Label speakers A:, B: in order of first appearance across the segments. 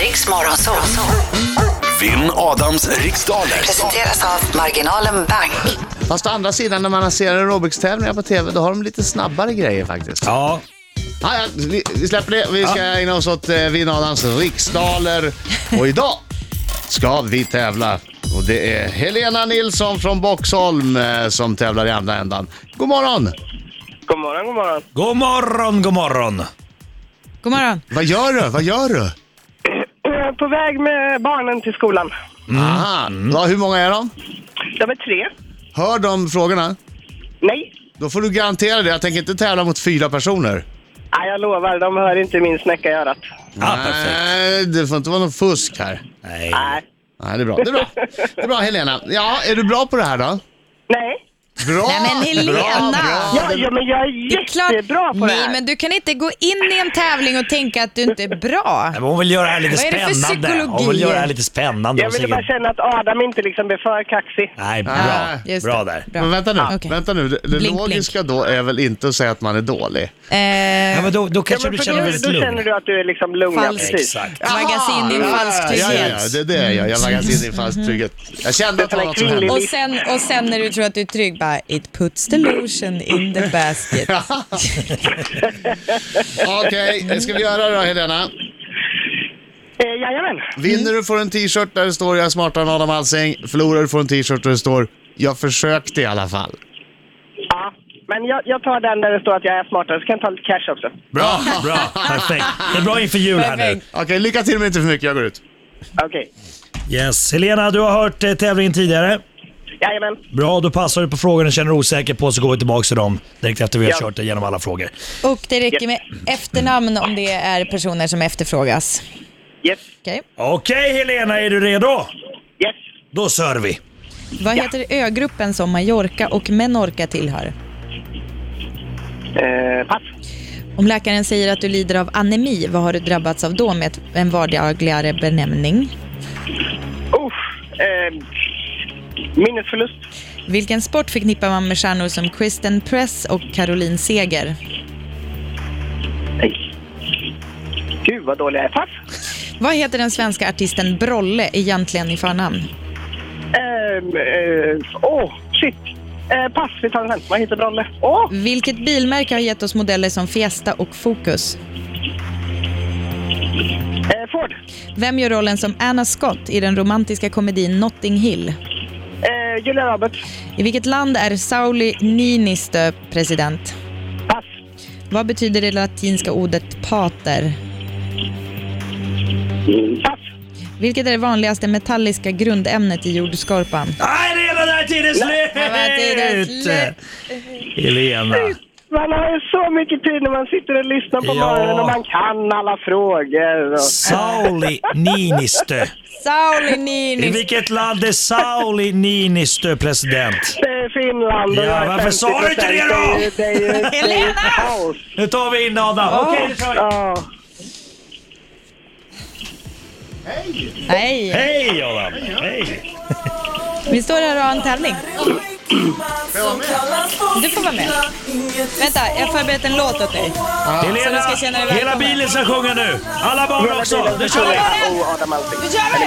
A: Riks Morgonzoo.
B: Vinn Adams riksdaler.
A: Presenteras av Marginalen Bank.
C: Fast å andra sidan när man ser aerobicstävlingar på tv då har de lite snabbare grejer faktiskt. Ja.
D: Ja,
C: ja, vi, vi släpper det. Vi ska ägna oss åt eh, Vinn Adams riksdaler. Och idag ska vi tävla. Och det är Helena Nilsson från Boxholm eh, som tävlar i andra ändan. God morgon!
E: God morgon, god morgon.
D: god morgon, god morgon.
F: God morgon.
C: Vad gör du? Vad gör du?
E: Eh, På väg med barnen till skolan.
C: Aha. Ja, Mm. hur många är de?
E: De är tre.
C: Hör de frågorna?
E: Nej.
C: Då får du garantera det. Jag tänker inte tävla mot fyra personer.
E: Nej, Ah, jag lovar, de hör inte min snäcka i örat.
D: Ja, perfekt.
C: Nej, det får inte vara någon fusk här.
D: Nej.
E: Nej.
C: Nej, det är bra. Det är bra. Det är bra Helena. Ja, är du bra på det här då?
E: Nej.
C: Bra!
F: Nej, men Helena!
C: Bra, bra.
E: Ja, ja, men jag är
F: Det är klart-
E: jättebra på det
F: Nej,
E: här.
F: men du kan inte gå in i en tävling och tänka att du inte är bra.
D: Men Hon vill göra det här lite
F: Vad är det för
D: spännande. Hon vill
F: psykologi?
D: göra det här lite spännande.
E: Jag
D: och
E: ville bara
D: säkert-
E: känna att Adam inte liksom blir för kaxig.
D: Nej,
C: Ah,
D: bra.
F: Just
D: Bra
F: det.
D: där.
F: Bra.
C: Men vänta nu,
F: Okej.
C: vänta nu. Det, det
F: Blink, blink.
C: logiska då är väl inte att säga att man är dålig?
D: Ja,
F: Eh,
D: men då, då kanske
E: men
D: du
E: för
D: känner dig
E: då,
D: väldigt
E: då känner
D: lugn.
E: du att du är liksom lugn. ja,
F: Falsk.
E: precis.
D: Exakt.
F: vaggas in i en falsk
C: Ah, ja, ja,
F: trygghet.
C: ja, det är det jag gör. Jag vaggas in i en falsk trygghet. Jag kände att det var något som hände.
F: Och sen, och sen när du tror att du är trygg, bara it puts the lotion in the basket.
C: Okej, det ska vi göra då Helena?
E: Eh, jajamän.
C: Vinner du får en t-shirt där det står “Jag är smartare än Adam Alsing”. Förlorar du får en t-shirt där det står “Jag försökte i alla fall”.
E: Ja. Men jag, jag tar den där det står att jag är smartare, så kan jag ta lite cash också.
D: Bra, bra. Perfekt. Det är bra inför jul här nu.
F: Perfekt.
C: Okej, lycka till men inte för mycket. Jag går ut.
E: Okej.
D: Yes. Helena, du har hört eh, tävlingen tidigare.
E: Jajamän.
D: Bra, då passar du på frågorna känner dig osäker på så går vi tillbaka till dem direkt efter vi har
E: Ja.
D: kört igenom alla frågor.
F: Och det räcker med efternamn om det är personer som efterfrågas.
E: Yes.
F: Okej.
D: Okej Helena, är du redo?
E: Yes.
D: Då kör vi.
F: Vad heter ögruppen som Mallorca och Menorca tillhör?
E: Eh, pass.
F: Om läkaren säger att du lider av anemi, vad har du drabbats av då med ett- en vardagligare benämning?
E: Uff. Eh, minnesförlust.
F: Vilken sport förknippar man med stjärnor som Kristen Press och Caroline Seger?
E: Nej. Gud vad dålig jag är. Pass.
F: Vad heter den svenska artisten Brolle egentligen i förnamn?
E: Ehm, eh, Åh, shit. Eh, pass, vi tar den sen. Vad heter Brolle? Åh!
F: Vilket bilmärke har gett oss modeller som Fiesta och Focus?
E: eh, Ford.
F: Vem gör rollen som Anna Scott i den romantiska komedin Notting Hill?
E: Eh, Julia Roberts.
F: I vilket land är Sauli Niinistö president?
E: Pass.
F: Vad betyder det latinska ordet pater?
E: Pass.
F: Vilket är det vanligaste metalliska grundämnet i jordskorpan?
D: Nej, redan där tiden
F: det var tiden
D: slut! Helena.
E: Man har ju så mycket tid när man sitter och lyssnar på
D: Ja.
E: morgonen och man kan alla frågor. Och...
D: Sauli Niinistö.
F: Sauli
D: I
F: Niinistö!
D: vilket land är Sauli Niinistö president?
E: Det är Finland.
D: Ja,
E: och jag är
D: varför sa du inte
E: 50%.
D: det då?
E: är ju- Det är ju, det är ju
F: Helena!
E: kaos.
D: Nu tar vi in Adam. Okej, nu kör vi.
E: Ja.
F: Nej,
D: Hej Adam! Hej!
F: vi står här och har en tävling. Du får vara med. Vänta, jag har förberett en låt åt dig. Så du
D: Helena,
F: ska känna dig välkommen.
D: hela bilen ska sjunga nu. Alla barn
E: Hela
D: också.
E: tiden
D: Nu kör vi.
E: Oh, Adam Alsing.
F: Nu kör vi!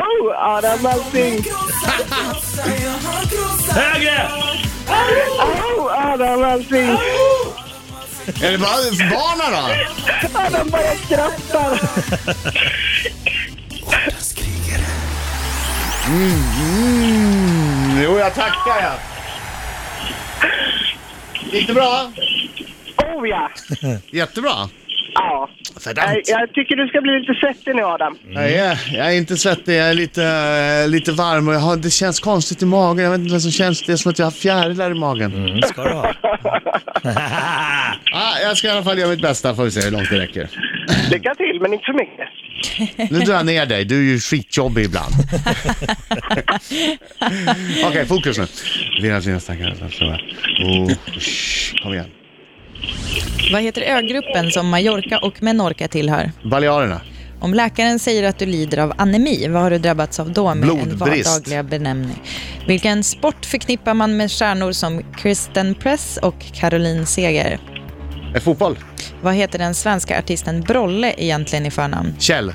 E: Oh, Adam Alsing.
D: Högre!
E: Oh, Adam Alsing.
C: Är det bara barnen då?
E: Adam bara skrattar.
C: Mm, jo, jag tackar jag. Gick det bra?
E: Oh ja.
C: Jättebra.
E: Ja.
C: Fördant.
E: Jag, jag tycker du ska bli lite svettig nu Adam.
C: Jag är, jag är inte svettig, jag är lite, eh, lite varm och jag har, det känns konstigt i magen. Jag vet inte vad som känns. Det är som att jag har fjärilar i magen.
D: Mm, ska du ha.
C: Ah, jag ska i alla fall göra mitt bästa, får vi se hur långt det räcker.
E: Lycka till, men inte för mycket.
C: Nu drar jag ner dig, du är ju skitjobbig ibland. Okej, fokus nu. Vina sina stackare. Oh, shh, kom igen.
F: Vad heter ögruppen som Mallorca och Menorca tillhör?
C: Balearerna.
F: Om läkaren säger att du lider av anemi, vad har du drabbats av då med en
C: Blodbrist.
F: vardagliga benämning? Vilken sport förknippar man med stjärnor som Kristen Press och Caroline Seger?
C: Eh, fotboll.
F: Vad heter den svenska artisten Brolle egentligen i förnamn?
C: Kjell.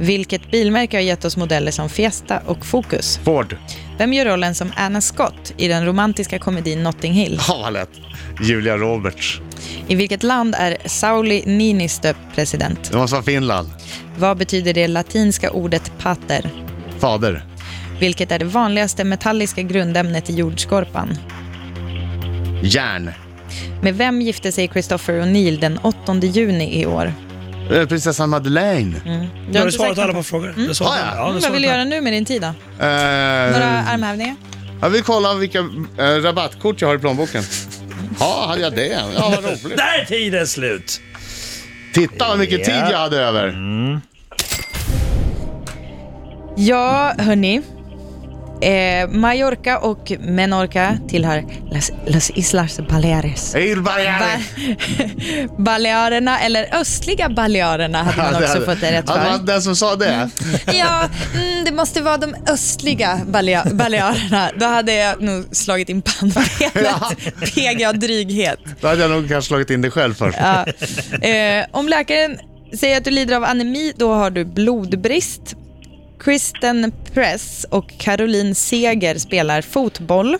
F: Vilket bilmärke har gett oss modeller som Fiesta och Focus?
C: Ford.
F: Vem gör rollen som Anna Scott i den romantiska komedin Notting Hill?
C: Ja, vad lätt. Julia Roberts.
F: I vilket land är Sauli Niinistö president?
C: Det måste vara Finland.
F: Vad betyder det latinska ordet pater?
C: Fader.
F: Vilket är det vanligaste metalliska grundämnet i jordskorpan?
C: Järn.
F: Med vem gifte sig Christopher O'Neill den 8 juni i år?
C: Eh, Prinsessan Madeleine.
F: Mm.
D: Du har du
F: inte
D: svarat
F: sagt-
D: alla på frågor. Du har svarat
C: Har jag?
D: alla.
C: Mm,
D: Ja, du
F: Vad vill du
D: svarat Ehm.
F: göra nu med din tid då? Några
C: Eh,
F: armhävningar?
C: jag vill kolla vilka eh, rabattkort jag har i plånboken. Ja, hade jag det? Ja, vad
D: alla.
C: roligt.
D: Där är tiden slut!
C: Titta vad mycket tid jag hade över.
F: Ja, hörni. Eh, Mallorca och Menorca tillhör Las, Las Islas Baleares.
C: Eil
F: Ba
C: Barriere.
F: Balearerna, eller östliga Balearerna hade man också fått det rätt
C: Ja, det var
F: för.
C: Den som sa det.
F: Ja, mm, det måste vara de östliga balea- Balearerna. Då hade jag nog slagit in
C: Ja.
F: pannbenet. PGA dryghet.
C: Då hade jag nog kanske slagit in det själv först.
F: Ja. Eh, om läkaren säger att du lider av anemi, då har du blodbrist. Kristen Press och Caroline Seger spelar fotboll.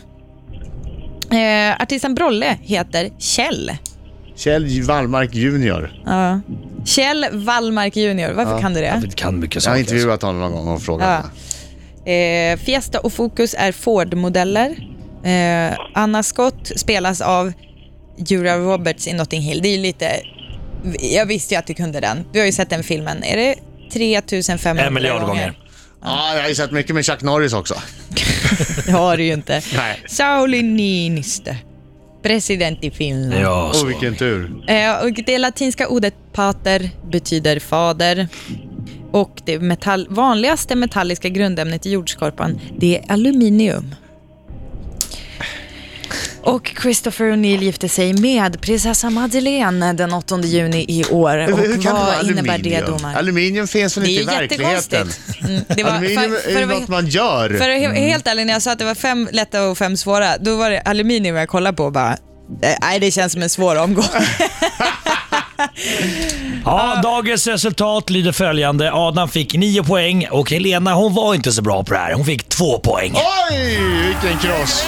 F: Eh, artisten Brolle heter Kjell.
C: Kjell Wallmark Junior.
F: Ja. Kjell Wallmark Jr. Varför kan du det?
D: Vi kan mycket
C: Jag har
D: saker. alltså.
C: intervjuat honom någon gång och frågat.
F: Ja.
C: honom.
F: Eh, Fiesta och Focus är Ford-modeller. Eh, Anna Scott spelas av Jura Roberts i Notting Hill. Det är ju lite... Jag visste ju att du kunde den. Du har ju sett den filmen. Är det 3500
D: En miljard gånger.
C: Ja, jag har ju sett mycket med Chuck Norris också.
F: Det har du ju inte.
C: Nej.
F: Sauli Niinistö, president i Finland.
D: Ja,
C: Åh,
D: så.
C: vilken tur.
F: Eh, och det latinska ordet pater betyder fader. Och det metall, vanligaste metalliska grundämnet i jordskorpan, det är aluminium. Och Christopher O'Neill gifte sig med prinsessa Madeleine den 8 juni i år. Och
C: Hur kan det vara
F: vad innebär det,
C: aluminium?
F: domaren?
C: Aluminium finns väl
F: Det är
C: inte i
F: ju
C: verkligheten?
F: jättekonstigt. Mm, det var-
C: Aluminium
F: för- för
C: är ju
F: att vara-
C: något man gör. Mm.
F: för att he- helt ärligt, när jag sa att det var fem lätta och fem svåra, då var det aluminium jag kollade på och bara, eh, nej det känns som en svår omgång.
D: Ja, dagens resultat lyder följande. Adam fick 9 poäng och Helena hon var inte så bra på det här. Hon fick 2 poäng.
C: Oj, vilken kross!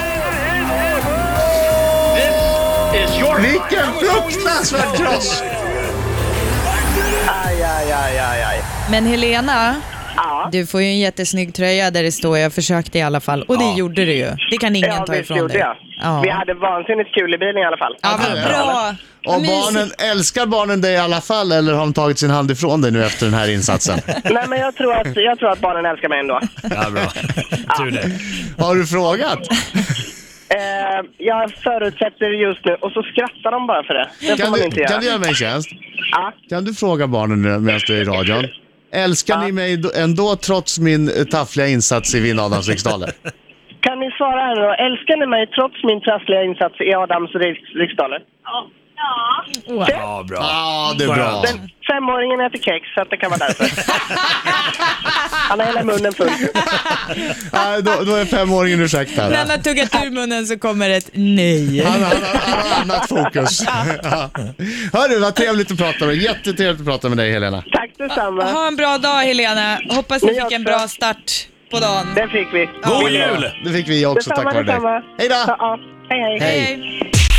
C: Vilken fruktansvärd kross!
E: Aj, aj, aj, aj, aj.
F: Men Helena, du får ju en jättesnygg tröja där det står jag försökte i alla fall. Och det gjorde du ju. Det kan ingen
E: Ja,
F: ta
E: visst
F: ifrån
E: gjorde
F: dig.
E: jag.
F: Ja.
E: Vi hade vansinnigt kul i bilen i alla fall.
F: Ja, vad bra.
C: Och
F: Mysigt.
C: barnen, älskar barnen dig i alla fall eller har de tagit sin hand ifrån dig nu efter den här insatsen?
E: Nej, men jag tror, att, jag tror att barnen älskar mig ändå.
D: Ja, bra. Tur det.
C: Har du frågat?
E: Eh, jag förutsätter just nu, och så skrattar de bara för det. Det får
C: Kan
E: man inte
C: du,
E: göra.
C: kan du göra mig en tjänst?
E: Ja.
C: Kan du fråga barnen nu medan du är i radion? Älskar ni mig då- ändå trots min eh, taffliga insats i Vinn Adams riksdaler?
E: Kan ni svara här nu då? Älskar ni mig trots min trassliga insats i Adams riks- riksdaler?
D: Ja, bra.
C: Ja, det är bra.
E: Den femåringen äter kex, så att det kan vara därför. Han har hela munnen full.
C: Nej, då, då är femåringen ursäktad.
F: När han har tuggat ur munnen så kommer ett nej.
C: Han, han, han, han har annat fokus. Ja. Hörru, vad trevligt att prata med dig. Jättetrevligt att prata med dig, Helena.
E: Tack detsamma.
F: Ha en bra dag Helena. Hoppas ni
E: Ni
F: fick
E: också.
F: en bra start på dagen.
E: Det fick vi.
D: God jul!
C: Det fick vi också
E: Detsamma,
C: tack vare dig.
E: detsamma.
C: Hej då!
E: Ja, ja. Hej, hej.
C: Hej.
F: Hej.